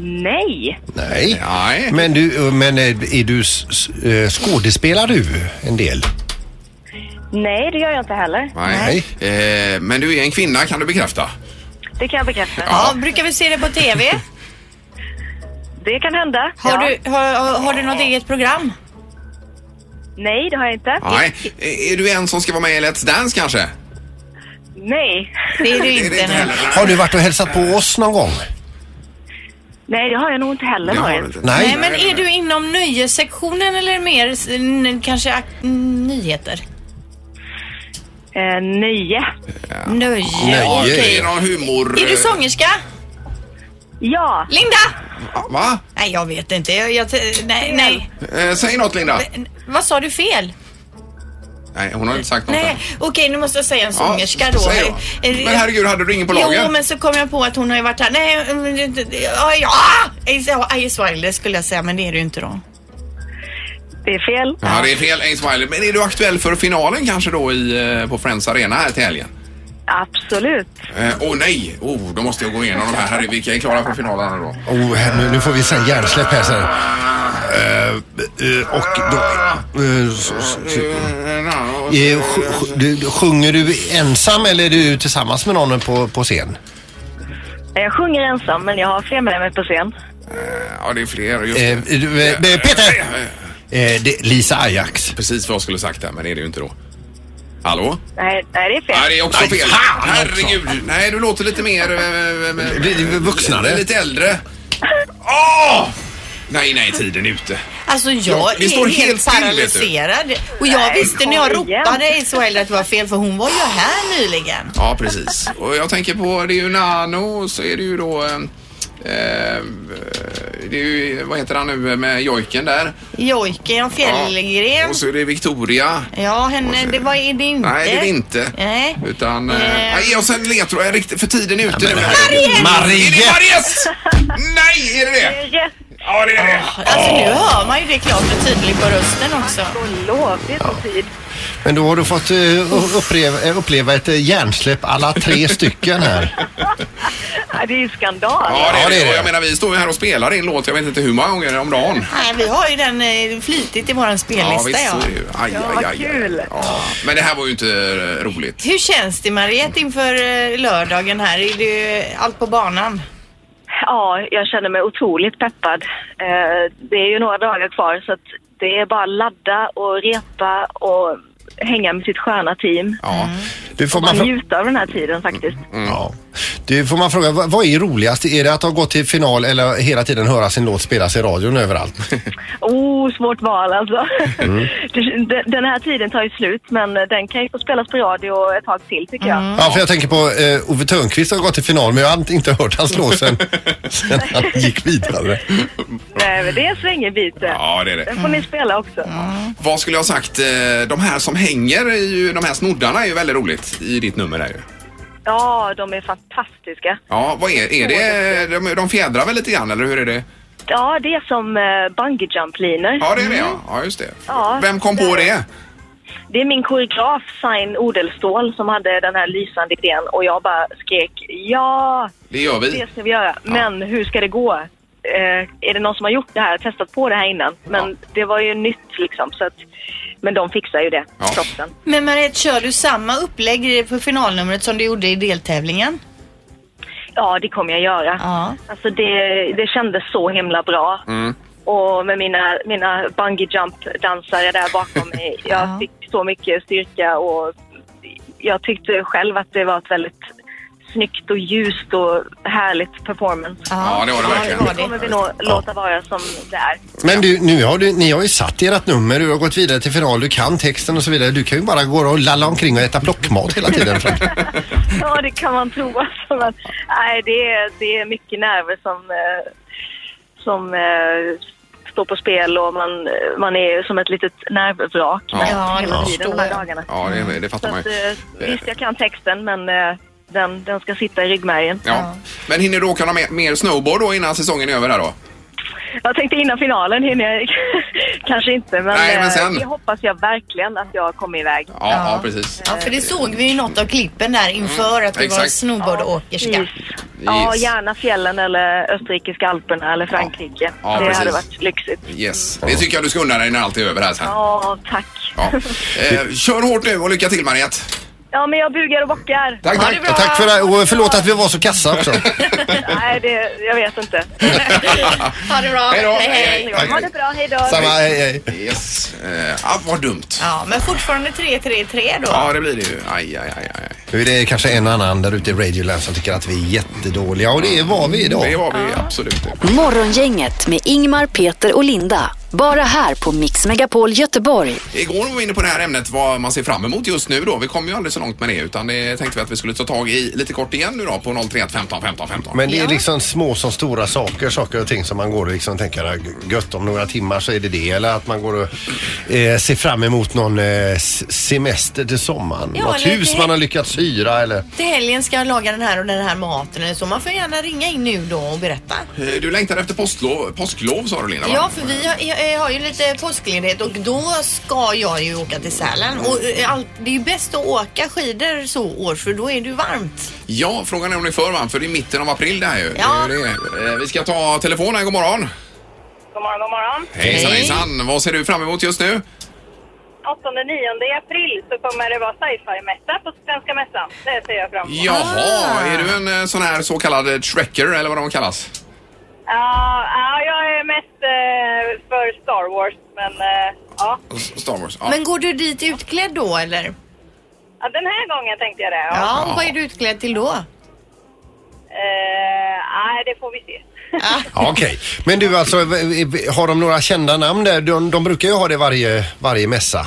[SPEAKER 11] Nej.
[SPEAKER 3] Nej. Men, du, men eh, är är du s- s- eh, skådespelar du en del?
[SPEAKER 11] Nej, det gör jag inte heller.
[SPEAKER 2] Nej. Eh, men du är en kvinna kan du bekräfta?
[SPEAKER 11] Det kan jag bekräfta.
[SPEAKER 4] Ja. brukar vi se det på TV?
[SPEAKER 11] Det kan hända.
[SPEAKER 4] Har,
[SPEAKER 11] ja.
[SPEAKER 4] du, har, har- har du något eget program?
[SPEAKER 11] Nej, det har jag inte.
[SPEAKER 2] Nej. Eh, Är du en som ska vara med i Let's Dance kanske?
[SPEAKER 11] Nej.
[SPEAKER 4] Det är du inte.
[SPEAKER 2] nu.
[SPEAKER 3] Har du varit och hälsat på oss någon gång?
[SPEAKER 11] Nej, det har jag nog inte heller.
[SPEAKER 3] Det har
[SPEAKER 11] jag.
[SPEAKER 3] du inte. Nej.
[SPEAKER 4] men är du inom nöjessektionen eller mer s- n- kanske ak- n- nyheter?
[SPEAKER 11] Eh, nöje.
[SPEAKER 4] Nöje,
[SPEAKER 2] Ja,
[SPEAKER 4] okej.
[SPEAKER 2] det är någon humor...
[SPEAKER 4] Är du sångerska?
[SPEAKER 11] Ja.
[SPEAKER 4] Linda!
[SPEAKER 2] Ah, Va?
[SPEAKER 4] Nej, jag vet inte. Jag, jag, nej, nej.
[SPEAKER 2] Eh, säg något Linda.
[SPEAKER 4] Vad sa du fel?
[SPEAKER 2] Nej, hon har inte sagt något
[SPEAKER 4] Nej,
[SPEAKER 2] än.
[SPEAKER 4] okej nu måste jag säga en
[SPEAKER 2] Ja,
[SPEAKER 4] sångerska då.
[SPEAKER 2] säg då.
[SPEAKER 4] Eh,
[SPEAKER 2] Men herregud, hade du ingen på lager?
[SPEAKER 4] Jo, men så kom jag på att hon har ju varit här. Nej, mm, ja, ja, Ice Wilder skulle jag säga, men det är det ju inte då.
[SPEAKER 11] Det är fel.
[SPEAKER 2] Ja, det är fel Ace Wilder. Men är du aktuell för finalen kanske då i, eh, på Friends Arena här till helgen?
[SPEAKER 11] Absolut.
[SPEAKER 2] Åh eh, åh, nej! Oh, då måste jag gå igenom de här. Herre, vilka är klara för finalen här då?
[SPEAKER 3] Oh, här, nu, nu får vi sen hjärnsläpp här sen. Eh, eh, och då, eh, s- s- s- eh, sj- sj- du, du- sjunger du ensam eller är du tillsammans med någon på, på scen?
[SPEAKER 11] Eh, Jag sjunger ensam, men jag har fler med mig på scen.
[SPEAKER 2] Ja, det är fler. Just
[SPEAKER 3] Eh,
[SPEAKER 2] det.
[SPEAKER 3] du, eh, eh, Peter! Eh, det, Lisa Ajax.
[SPEAKER 2] Precis vad jag skulle sagt där, men det är det ju inte då. Hallå?
[SPEAKER 11] Nej, nej det är fel.
[SPEAKER 2] Nej, det är också
[SPEAKER 3] Nej,
[SPEAKER 2] fel.
[SPEAKER 3] fan också.
[SPEAKER 2] Herregud. Nej, du låter lite mer... eh,
[SPEAKER 3] Lite vuxnare.
[SPEAKER 2] Lite äldre. Åh! Nej, nej, tiden är ute.
[SPEAKER 4] Alltså jag
[SPEAKER 2] Ja, vi
[SPEAKER 4] är
[SPEAKER 2] står
[SPEAKER 4] helt,
[SPEAKER 2] helt still,
[SPEAKER 4] paralyserad. Och jag
[SPEAKER 2] Nej,
[SPEAKER 4] visste när jag
[SPEAKER 2] kom igen.
[SPEAKER 4] ropade Ice Wilder att det var fel för hon var ju här nyligen.
[SPEAKER 2] Ja, precis. Och jag tänker på, det är ju Nano och så är det ju då... Eh, eh, det är ju, vad heter han nu med jojken där?
[SPEAKER 4] Jojken och Fjällgren.
[SPEAKER 2] Och så är det Victoria.
[SPEAKER 4] Ja, henne, det var är det inte.
[SPEAKER 2] Nej, det är det inte.
[SPEAKER 4] Nej.
[SPEAKER 2] Utan... Eh,
[SPEAKER 4] Eh.
[SPEAKER 2] nej, och sen ledtråd. Jag är riktigt- För tiden är ute nu.
[SPEAKER 4] Mariette!
[SPEAKER 2] Är det Mariette? Nej, är det det? Ja, det är det.
[SPEAKER 4] Alltså nu hör man ju det klart och tydligt på rösten också.
[SPEAKER 11] Lov, Alltså, det är så tid.
[SPEAKER 3] Men då har du fått eh, u- uppleva, eh, uppleva ett eh, hjärnsläpp alla tre stycken här.
[SPEAKER 11] Nej, Det är ju skandal.
[SPEAKER 2] Ja, det är det. Och Jag menar, vi står ju här och spelar in låt, jag vet inte hur många gånger om dagen.
[SPEAKER 4] Nej, vi har ju den eh, flitigt i våran
[SPEAKER 2] Ja,
[SPEAKER 4] spellista.
[SPEAKER 2] visst så
[SPEAKER 4] Ja,
[SPEAKER 2] är det ju. Aj,
[SPEAKER 4] Ja,
[SPEAKER 2] aj,
[SPEAKER 4] vad
[SPEAKER 2] aj,
[SPEAKER 4] kul.
[SPEAKER 2] aj. Ja, men det här var ju inte eh, roligt.
[SPEAKER 4] Hur känns det Mariette inför eh, lördagen här? Är det eh, allt på banan?
[SPEAKER 11] Ja, jag känner mig otroligt peppad. Eh, Det är ju några dagar kvar så att det är bara att ladda och repa och hänga med sitt sköna team.
[SPEAKER 3] Ja.
[SPEAKER 11] Mm.
[SPEAKER 3] Du får
[SPEAKER 11] Och bara
[SPEAKER 3] man, frå-
[SPEAKER 11] njuta av den här tiden faktiskt.
[SPEAKER 3] Mm. ja. du får man fråga, vad, vad är roligast? Är det att ha gått till final eller hela tiden höra sin låt spelas i radion överallt?
[SPEAKER 11] Oh, svårt val alltså.
[SPEAKER 2] Mm.
[SPEAKER 11] Det- Den här tiden tar ju slut men den kan ju få spelas på radio ett tag till tycker jag.
[SPEAKER 2] Mm.
[SPEAKER 3] Ja, för jag tänker på eh, Ove Thörnqvist har gått till final men jag har inte hört hans låt sen, sen han gick vidare.
[SPEAKER 11] Nej, men det är svängbyte.
[SPEAKER 2] Ja, det Mm. är det.
[SPEAKER 11] Den får ni spela också.
[SPEAKER 2] Vad skulle jag ha sagt? Eh, De här som hänger, är ju, de här snoddarna är ju väldigt roligt i ditt nummer där ju.
[SPEAKER 11] Ja, de är fantastiska.
[SPEAKER 2] Ja, vad är, är det? De, de fjädrar väl lite grann, eller hur är det?
[SPEAKER 11] Ja, det är som eh, bungee jump linor
[SPEAKER 2] Ja, det är det ja. Ja, just det.
[SPEAKER 11] Mm. Ja,
[SPEAKER 2] Vem kom på det?
[SPEAKER 11] Det är min koreograf Sain Odelstål som hade den här lysande idén och jag bara skrek ja,
[SPEAKER 2] Det gör vi.
[SPEAKER 11] det ska vi göra. Men hur ska det gå? Eh, är det någon som har gjort det här, testat på det här innan? Men det var ju nytt liksom så att, men de fixar ju det, proffsen.
[SPEAKER 4] Men Mariette, kör du samma upplägg på finalnumret som du gjorde i deltävlingen?
[SPEAKER 11] Ja, det kommer jag göra. Alltså det, det kändes så himla bra.
[SPEAKER 2] Mm.
[SPEAKER 11] och med mina, mina bungee jump dansare där bakom mig. Jag fick så mycket styrka och jag tyckte själv att det var ett väldigt snyggt och ljust och härligt performance.
[SPEAKER 2] Ja, det var det verkligen.
[SPEAKER 11] Det kommer vi nog låta vara som det är.
[SPEAKER 3] Men du, nu har du, ni har ju satt ert nummer, du har gått vidare till final, du kan texten och så vidare. Du kan ju bara gå och lalla omkring och äta plockmat hela tiden. Frank.
[SPEAKER 11] Ja, det kan man tro. Alltså, men, nej, det, är, det är mycket nerver som, eh, som eh, står på spel och man, eh, man är som ett litet nervvrak
[SPEAKER 2] Ja.
[SPEAKER 11] ja,
[SPEAKER 2] Ja,
[SPEAKER 11] hela
[SPEAKER 2] det
[SPEAKER 11] tiden de här dagarna.
[SPEAKER 2] Ja, det, det
[SPEAKER 11] Så
[SPEAKER 2] fattar man
[SPEAKER 11] att,
[SPEAKER 2] ju.
[SPEAKER 11] eh, visst, jag kan texten, men eh, den, den ska sitta i ryggmärgen.
[SPEAKER 2] Ja. Men hinner du åka någon mer, mer snowboard då innan säsongen är över här då?
[SPEAKER 11] Jag tänkte innan finalen hinner jag kanske inte, men,
[SPEAKER 2] Nej, men
[SPEAKER 11] eh,
[SPEAKER 2] sen.
[SPEAKER 11] det hoppas jag verkligen att jag kommer iväg.
[SPEAKER 2] Ja, ja. precis. Mm,
[SPEAKER 4] Ja, för det såg vi ju i något av klippen där inför att du var
[SPEAKER 2] exakt.
[SPEAKER 4] snowboardåkerska.
[SPEAKER 11] Ja,
[SPEAKER 2] Mm. Yes.
[SPEAKER 11] gärna fjällen eller österrikiska alperna eller Frankrike.
[SPEAKER 2] Ja,
[SPEAKER 11] det
[SPEAKER 2] precis.
[SPEAKER 11] hade varit lyxigt.
[SPEAKER 2] Yes. Det tycker jag du ska unna dig när allt är över här sen.
[SPEAKER 11] Ja, tack.
[SPEAKER 2] Ja. Eh, kör hårt nu och lycka till Mariette.
[SPEAKER 11] Ja, men jag bugar och bockar.
[SPEAKER 2] Tack,
[SPEAKER 11] ha
[SPEAKER 2] tack.
[SPEAKER 11] det bra.
[SPEAKER 3] Tack för det och förlåt att vi var så kassa också.
[SPEAKER 11] Nej, det, jag vet inte.
[SPEAKER 4] ha det bra.
[SPEAKER 11] Hej då.
[SPEAKER 4] Hej, hej.
[SPEAKER 11] Ha det bra. Hej då.
[SPEAKER 3] hej,
[SPEAKER 2] hej. Yes. Eh, ah, vad dumt.
[SPEAKER 4] Ja, men fortfarande 3-3-3 då.
[SPEAKER 2] Ja, det blir det ju. Aj, aj, aj. aj.
[SPEAKER 3] Nu är det kanske en annan där ute i Radioland som tycker att vi är jättedåliga och det var vi idag.
[SPEAKER 2] Det var vi absolut.
[SPEAKER 5] Morgongänget med Ingmar, Peter och Linda. Bara här på Mix Megapol Göteborg.
[SPEAKER 2] Igår var vi inne på det här ämnet vad man ser fram emot just nu då. Vi kom ju aldrig så långt med det utan det tänkte vi att vi skulle ta tag i lite kort igen nu då på 031 15 15 15.
[SPEAKER 3] Men det är liksom små som stora saker, saker och ting som man går och liksom tänker "Ah, gött om några timmar så är det det. Eller att man går och eh, ser fram emot någon eh, s- semester till sommaren.
[SPEAKER 4] Ja,
[SPEAKER 3] Något
[SPEAKER 4] eller
[SPEAKER 3] hus
[SPEAKER 4] det-
[SPEAKER 3] man har lyckats hyra eller...
[SPEAKER 4] Till helgen ska jag laga den här och den här maten eller så. Man får gärna ringa in nu då och berätta.
[SPEAKER 2] Eh, Du längtar efter påsklov, påsklov sa du Linda va?
[SPEAKER 4] Ja, för vi har, jag, jag har ju lite påskledighet och då ska jag ju åka till Sälen. Och eh, allt, det är ju bäst att åka skidor så års för då är det ju varmt.
[SPEAKER 2] Ja, frågan är om ni är för varmt för det är mitten av april det här ju.
[SPEAKER 4] Ja.
[SPEAKER 2] Det är ju det. Eh, Vi ska ta telefonen, god morgon.
[SPEAKER 12] God morgon, god morgon.
[SPEAKER 2] Hejsan hejsan, vad ser du fram emot just nu?
[SPEAKER 12] 8-9 april så kommer det vara sci-fi-mässa på Svenska Mässan. Det ser jag fram emot.
[SPEAKER 2] Jaha,
[SPEAKER 4] Ah.
[SPEAKER 2] är du en eh, sån här så kallad eh, trekker eller vad de kallas?
[SPEAKER 12] Ja, ja, jag är mest eh, för Star Wars, men eh, ja.
[SPEAKER 2] S- Star Wars? Ja.
[SPEAKER 4] Men går du dit utklädd då eller?
[SPEAKER 12] ja. Den här gången tänkte jag det.
[SPEAKER 4] Ja, vad är du utklädd till då?
[SPEAKER 12] Eh, nej, det får vi se.
[SPEAKER 3] Ja, Okej, men du alltså, v- v- har de några kända namn där? De, de brukar ju ha det varje, varje mässa.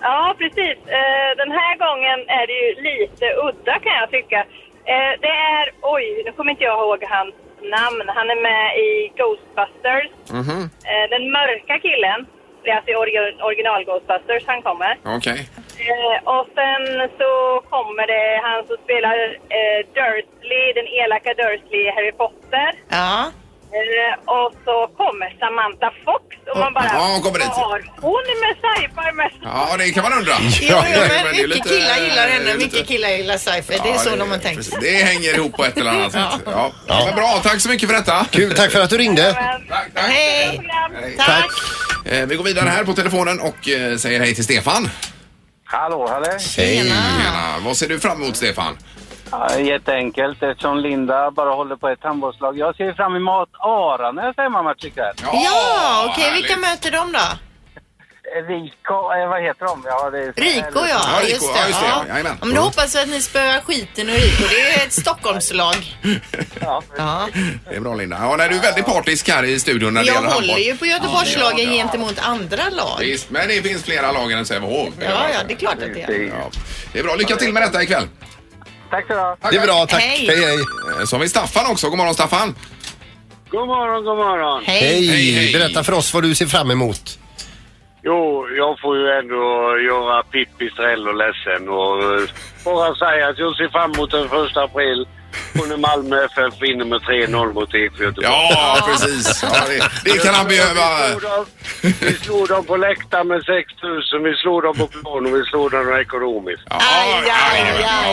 [SPEAKER 12] Ja, precis. Eh, den här gången är det ju lite udda kan jag tycka. Eh, det är, oj, nu kommer inte jag ihåg hans namn. Han är med i Ghostbusters.
[SPEAKER 2] Mhm.
[SPEAKER 12] Eh, den mörka killen, det är alltså i orgi- original Ghostbusters han kommer.
[SPEAKER 2] Okej.
[SPEAKER 12] Eh, och sen så kommer det han som spelar eh, Dursley, den elaka Dursley i Harry Potter.
[SPEAKER 4] Ja.
[SPEAKER 12] Eh, och så kommer Samantha Fox och man bara,
[SPEAKER 2] Ja, hon kommer dit.
[SPEAKER 12] vad har hon med sci-fi med?
[SPEAKER 2] Ja, det kan man undra.
[SPEAKER 4] Jo, jo,
[SPEAKER 2] Men det är
[SPEAKER 4] men mycket
[SPEAKER 2] lite-
[SPEAKER 4] killar gillar henne,
[SPEAKER 2] lite-
[SPEAKER 4] mycket killar gillar sci-fi. det är
[SPEAKER 2] Ja,
[SPEAKER 4] så
[SPEAKER 2] det-
[SPEAKER 4] de har tänkt.
[SPEAKER 2] Det hänger ihop på ett eller annat sätt. Ja. Ja. men bra, tack så mycket för detta.
[SPEAKER 3] Kul, tack för att du ringde.
[SPEAKER 2] Tack, tack.
[SPEAKER 4] Hej! Tack!
[SPEAKER 2] Eh, Vi går vidare här på telefonen och eh, säger hej till Stefan.
[SPEAKER 13] Hallå, hallå.
[SPEAKER 2] Hej! Tjena. Vad ser du fram emot Stefan?
[SPEAKER 13] Ja, jätteenkelt eftersom Linda bara håller på ett handbollslag. Jag ser fram emot Aranäs hemmamatchikväll.
[SPEAKER 4] Ja, okej, vilka möter de då?
[SPEAKER 13] Rico, eh, vad heter de? Ja, det är...
[SPEAKER 4] Rico ja, just det. Ja. Ja, men då hoppas vi att ni spöar skiten ur Rico. Det är ett Stockholmslag.
[SPEAKER 2] Ja. Det är bra Linda. Ja, nej, du är väldigt partisk här i studion när det
[SPEAKER 4] Jag
[SPEAKER 2] gäller
[SPEAKER 4] håller
[SPEAKER 2] handboll.
[SPEAKER 4] ju på Göteborgslagen gentemot andra lag.
[SPEAKER 2] Visst, men det finns flera lag än Sävehof.
[SPEAKER 4] Ja, ja, det är klart att det är.
[SPEAKER 2] Ja. Det är bra. Lycka till med detta ikväll.
[SPEAKER 13] Tack så bra.
[SPEAKER 2] Tack, tack.
[SPEAKER 4] Hej. Hej,
[SPEAKER 2] Eh, Så har vi Staffan också. God morgon Staffan.
[SPEAKER 13] God morgon, god morgon.
[SPEAKER 3] Hej. Berätta för oss vad du ser fram emot.
[SPEAKER 13] Jo, jag får ju ändå göra Pippi snäll och ledsen och eh, bara säga att jag ser fram emot den första april och när Malmö FF vinner med 3-0 mot IFK Göteborg.
[SPEAKER 2] Ja, precis. Ja, det, det kan han behöva.
[SPEAKER 13] Vi slog dem på läktaren med 6000, vi slog dem på plan och vi slog dem ekonomiskt.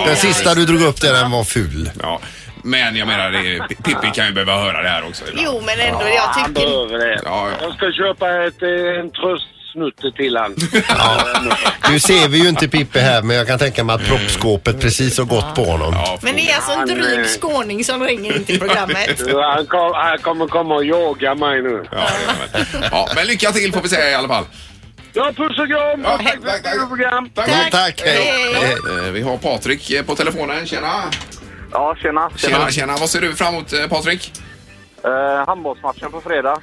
[SPEAKER 3] Den sista du drog upp där den var ful.
[SPEAKER 2] Ja. Men jag menar, det är, Pippi kan ju behöva höra det här också. ibland.
[SPEAKER 4] Jo, men ändå, jag
[SPEAKER 13] Han
[SPEAKER 4] tycker...
[SPEAKER 13] behöver det.
[SPEAKER 2] Ja, ja.
[SPEAKER 13] Jag ska köpa ett, eh, en tröst snuttet till han.
[SPEAKER 3] Nu ser vi ju inte Pippe här men jag kan tänka mig att proppskåpet precis har gått på honom.
[SPEAKER 4] Men det är alltså en
[SPEAKER 13] Han, eh,
[SPEAKER 4] dryg skåning som ringer in till programmet.
[SPEAKER 13] Du, Han, kom, han kommer komma och jaga mig nu.
[SPEAKER 2] Ja, ja, men lycka till får vi säga i alla fall.
[SPEAKER 13] Ja, puss och kram!
[SPEAKER 2] Ja,
[SPEAKER 13] Tack för ett kul program!
[SPEAKER 2] Tack.
[SPEAKER 3] Tack, hej.
[SPEAKER 2] Eh, Vi har Patrik eh, på telefonen. Tjena!
[SPEAKER 14] Ja, tjena.
[SPEAKER 2] Tjena, tjena. Vad ser du fram emot, eh, Patrik?
[SPEAKER 14] Eh, handbollsmatchen på fredag.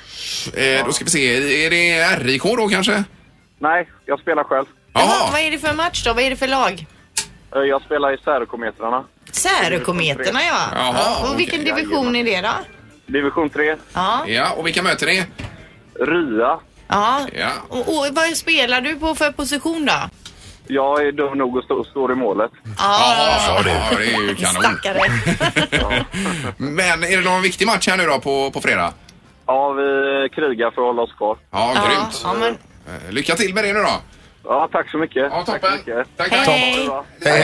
[SPEAKER 2] Eh, då ska vi se. Är det RIK då kanske?
[SPEAKER 14] Nej, jag spelar själv.
[SPEAKER 4] Jaha, vad är det för match då? Vad är det för lag?
[SPEAKER 14] Eh, jag spelar i Särokometrarna.
[SPEAKER 4] Särokometerna ja.
[SPEAKER 14] Jaha,
[SPEAKER 4] och vilken
[SPEAKER 14] okej.
[SPEAKER 4] division är det då?
[SPEAKER 14] Division 3.
[SPEAKER 4] Ja.
[SPEAKER 2] Ja, och vilka möter ni?
[SPEAKER 14] Rya.
[SPEAKER 4] Ja.
[SPEAKER 2] Ja.
[SPEAKER 4] Och, och vad spelar du på för position då?
[SPEAKER 14] Jag är dum nog och stå, står i målet.
[SPEAKER 4] Ja,
[SPEAKER 2] Ja, det är ju kanon.
[SPEAKER 4] stackare.
[SPEAKER 2] Men är det någon viktig match här nu då på, på fredag?
[SPEAKER 14] Ja, vi krigar för att hålla oss kvar.
[SPEAKER 2] Ja, grymt. Eh, Lycka till med det nu då.
[SPEAKER 14] Ja, tack så mycket.
[SPEAKER 2] Ja, toppen. Tack, tack.
[SPEAKER 5] Hej.
[SPEAKER 14] Ha det bra.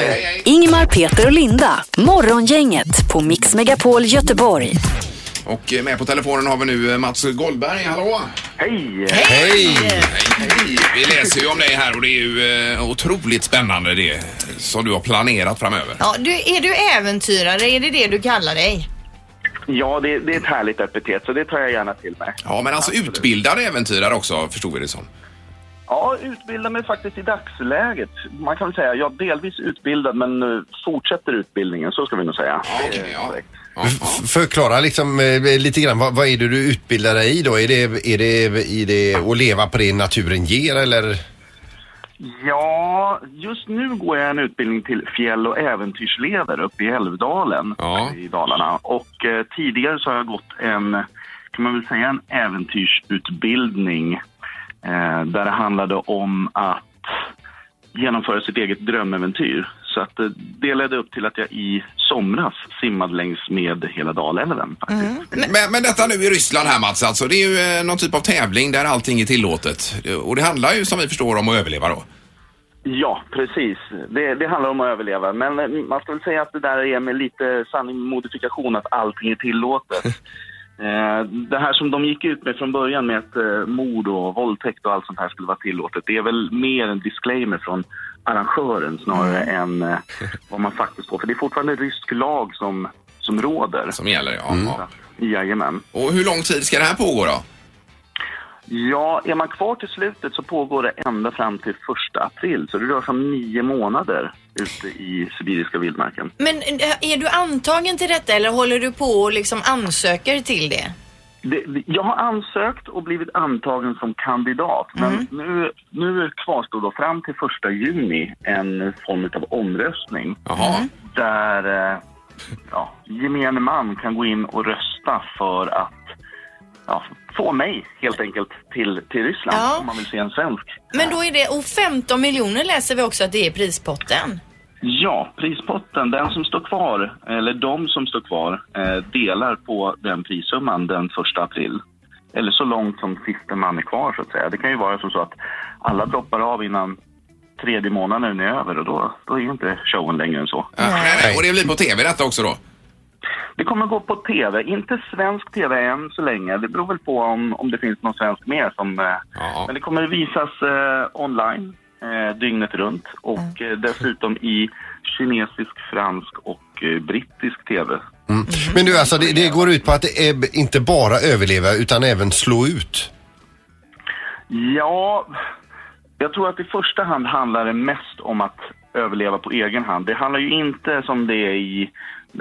[SPEAKER 5] Ingmar, Peter och Linda. Morgongänget på Mix Megapol Göteborg.
[SPEAKER 2] Och eh, med på telefonen har vi nu eh, Mats Goldberg. Hallå!
[SPEAKER 14] Hej!
[SPEAKER 2] Hej! Hej! Vi läser ju om dig här och det är ju eh, otroligt spännande det som du har planerat framöver.
[SPEAKER 4] Ja, du, är du äventyrare? Är det det du kallar dig?
[SPEAKER 14] Ja, det, det är ett härligt epitet, så det tar jag gärna till mig.
[SPEAKER 2] Ja, men alltså utbildad äventyrare också förstod vi det som.
[SPEAKER 14] Ja, utbildar mig faktiskt i dagsläget. Man kan väl säga jag är delvis utbildad, men eh, fortsätter utbildningen, så ska vi nog säga.
[SPEAKER 3] F- Förklara liksom eh, lite grann vad, vad är det du utbildar dig i då? Är det, är det, är det att leva på det naturen ger eller?
[SPEAKER 2] Mhm.
[SPEAKER 14] Ja, just nu går jag en utbildning till fjäll och äventyrsledare uppe i Älvdalen i Dalarna. Och eh, tidigare så har jag gått en, kan man väl säga, en äventyrsutbildning eh, där det handlade om att genomföra sitt eget drömäventyr. Så att, eh, det ledde upp till att jag i somras simmade längs med hela Dalälven.
[SPEAKER 2] Men, men detta nu i Ryssland här Mats, alltså, det är ju eh, någon typ av tävling där allting är tillåtet. Och det handlar ju som vi förstår om att överleva då.
[SPEAKER 14] Ja, precis. Det, det handlar om att överleva. Men eh, man ska väl säga att det där är med lite sanning med modifikation, att allting är tillåtet. Eh, Det här som de gick ut med från början med att eh, mord och våldtäkt och allt sånt här skulle vara tillåtet, det är väl mer en disclaimer från arrangören snarare
[SPEAKER 2] Mm.
[SPEAKER 14] än eh, vad man faktiskt får. För det är fortfarande rysk lag som, som råder. Mm.
[SPEAKER 2] Som gäller, ja.
[SPEAKER 14] Jajamän.
[SPEAKER 2] Och hur lång tid ska det här pågå då?
[SPEAKER 14] Ja, är man kvar till slutet så pågår det ända fram till 1 april. Så det rör sig om nio månader ute i sibiriska vildmarken.
[SPEAKER 4] Men eh, är du antagen till detta eller håller du på och liksom ansöker till det?
[SPEAKER 14] Det, det- jag har ansökt och blivit antagen som kandidat. Men nu, nu kvarstår då fram till 1 juni en form av omröstning. Mm. Där eh, ja, gemene man kan gå in och rösta för att ja, få mig helt enkelt till, till Ryssland
[SPEAKER 4] Ja.
[SPEAKER 14] om man vill se en svensk.
[SPEAKER 4] Men då är det, och 15 miljoner läser vi också att det är prispotten.
[SPEAKER 14] Ja, prispotten, den som står kvar, eller de som står kvar, eh, delar på den prissumman den 1 april. Eller så långt som sista man är kvar så att säga. Det kan ju vara som så att alla droppar av innan tredje månaden är över och då, då är ju inte showen längre än så.
[SPEAKER 2] Ja, nej, nej. Och det blir på TV detta också då?
[SPEAKER 14] Det kommer gå på tv, inte svensk tv än så länge. Det beror väl på om, om det finns någon svensk mer som... eh, Men det kommer visas eh, online eh, dygnet runt och eh, dessutom i kinesisk, fransk och eh, brittisk tv.
[SPEAKER 3] Mm. Men du alltså det, det går ut på att det är inte bara överleva utan även slå ut.
[SPEAKER 14] Ja, jag tror att i första hand handlar det mest om att överleva på egen hand. Det handlar ju inte som det är i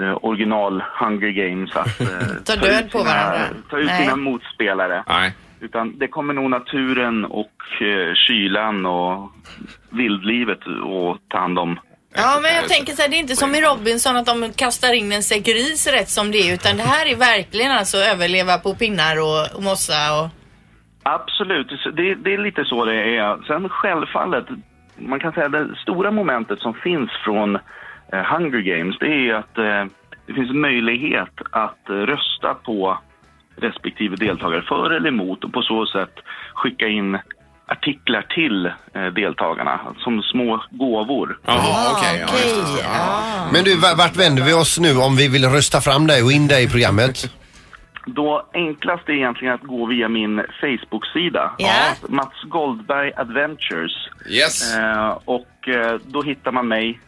[SPEAKER 14] eh, original Hunger Games att eh,
[SPEAKER 4] Ta död
[SPEAKER 14] ut
[SPEAKER 4] på
[SPEAKER 14] sina-
[SPEAKER 4] varandra.
[SPEAKER 14] Ta ut
[SPEAKER 4] Nej.
[SPEAKER 14] sina motspelare. Utan det kommer nog naturen och eh, kylan och vildlivet att ta hand om.
[SPEAKER 4] Ja, men jag tänker så här, det är inte som i Robinson att de kastar in en säck ris rätt som det är, utan det här är verkligen alltså överleva på pinnar och, och mossa och...
[SPEAKER 14] Absolut, det, det är lite så det är. Sen självfallet, man kan säga det stora momentet som finns från eh, Hunger Games, det är ju att eh, det finns en möjlighet att eh, rösta på respektive deltagare för eller emot och på så sätt skicka in artiklar till eh, deltagarna som små gåvor.
[SPEAKER 2] Jaha, Ah,
[SPEAKER 3] Ah,
[SPEAKER 2] okej.
[SPEAKER 3] Men du va- vart vänder vi oss nu om vi vill rösta fram dig och in dig i programmet?
[SPEAKER 14] Då enklast är egentligen att gå via min Facebook-sida. Mats Goldberg Adventures.
[SPEAKER 2] Yes.
[SPEAKER 14] Eh, och eh, då hittar man mig.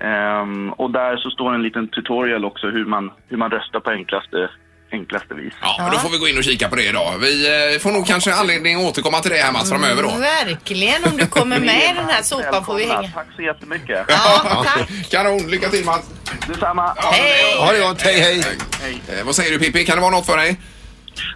[SPEAKER 14] Ehm, och där så står en liten tutorial också hur man, hur man röstar på enklaste, enklaste vis.
[SPEAKER 2] Ja, men då får vi gå in och kika på det idag. Vi eh, får nog kanske anledning att återkomma till det här Mats framöver
[SPEAKER 15] Mm.
[SPEAKER 2] då.
[SPEAKER 4] Verkligen, om du kommer med i den här sopan får vi hänga.
[SPEAKER 14] Tack så jättemycket.
[SPEAKER 2] Ja, tack. Kanon, lycka till Mats.
[SPEAKER 14] Detsamma.
[SPEAKER 2] Hej!
[SPEAKER 14] Ha det gott, hej, hej.
[SPEAKER 2] Eh, vad säger du Pippi, kan det vara något för dig?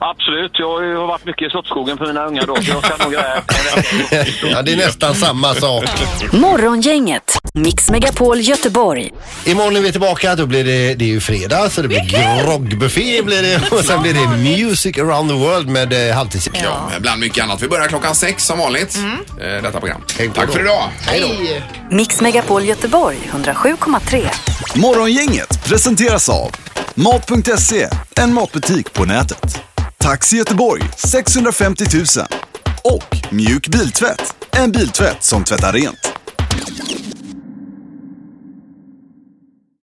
[SPEAKER 15] Absolut, jag har ju varit mycket i soppskogen för mina ungar då, så jag kan nog göra det.
[SPEAKER 3] Ja, det är nästan samma sak.
[SPEAKER 5] Morgongänget, Mix Megapol Göteborg.
[SPEAKER 3] Imorgon är vi tillbaka, då blir det, det är ju fredag så det blir groggbuffé blir det och sen blir det Music around the world med eh, halvtids
[SPEAKER 2] Ja. Bland mycket annat. Vi börjar klockan sex som vanligt, eh, detta program. Tack för idag.
[SPEAKER 5] Hej Mix Megapol Göteborg 107,3.
[SPEAKER 1] Morgongänget presenteras av Mat.se, en matbutik på nätet. Taxi Göteborg 650 000 och Mjuk Biltvätt, en biltvätt som tvättar rent.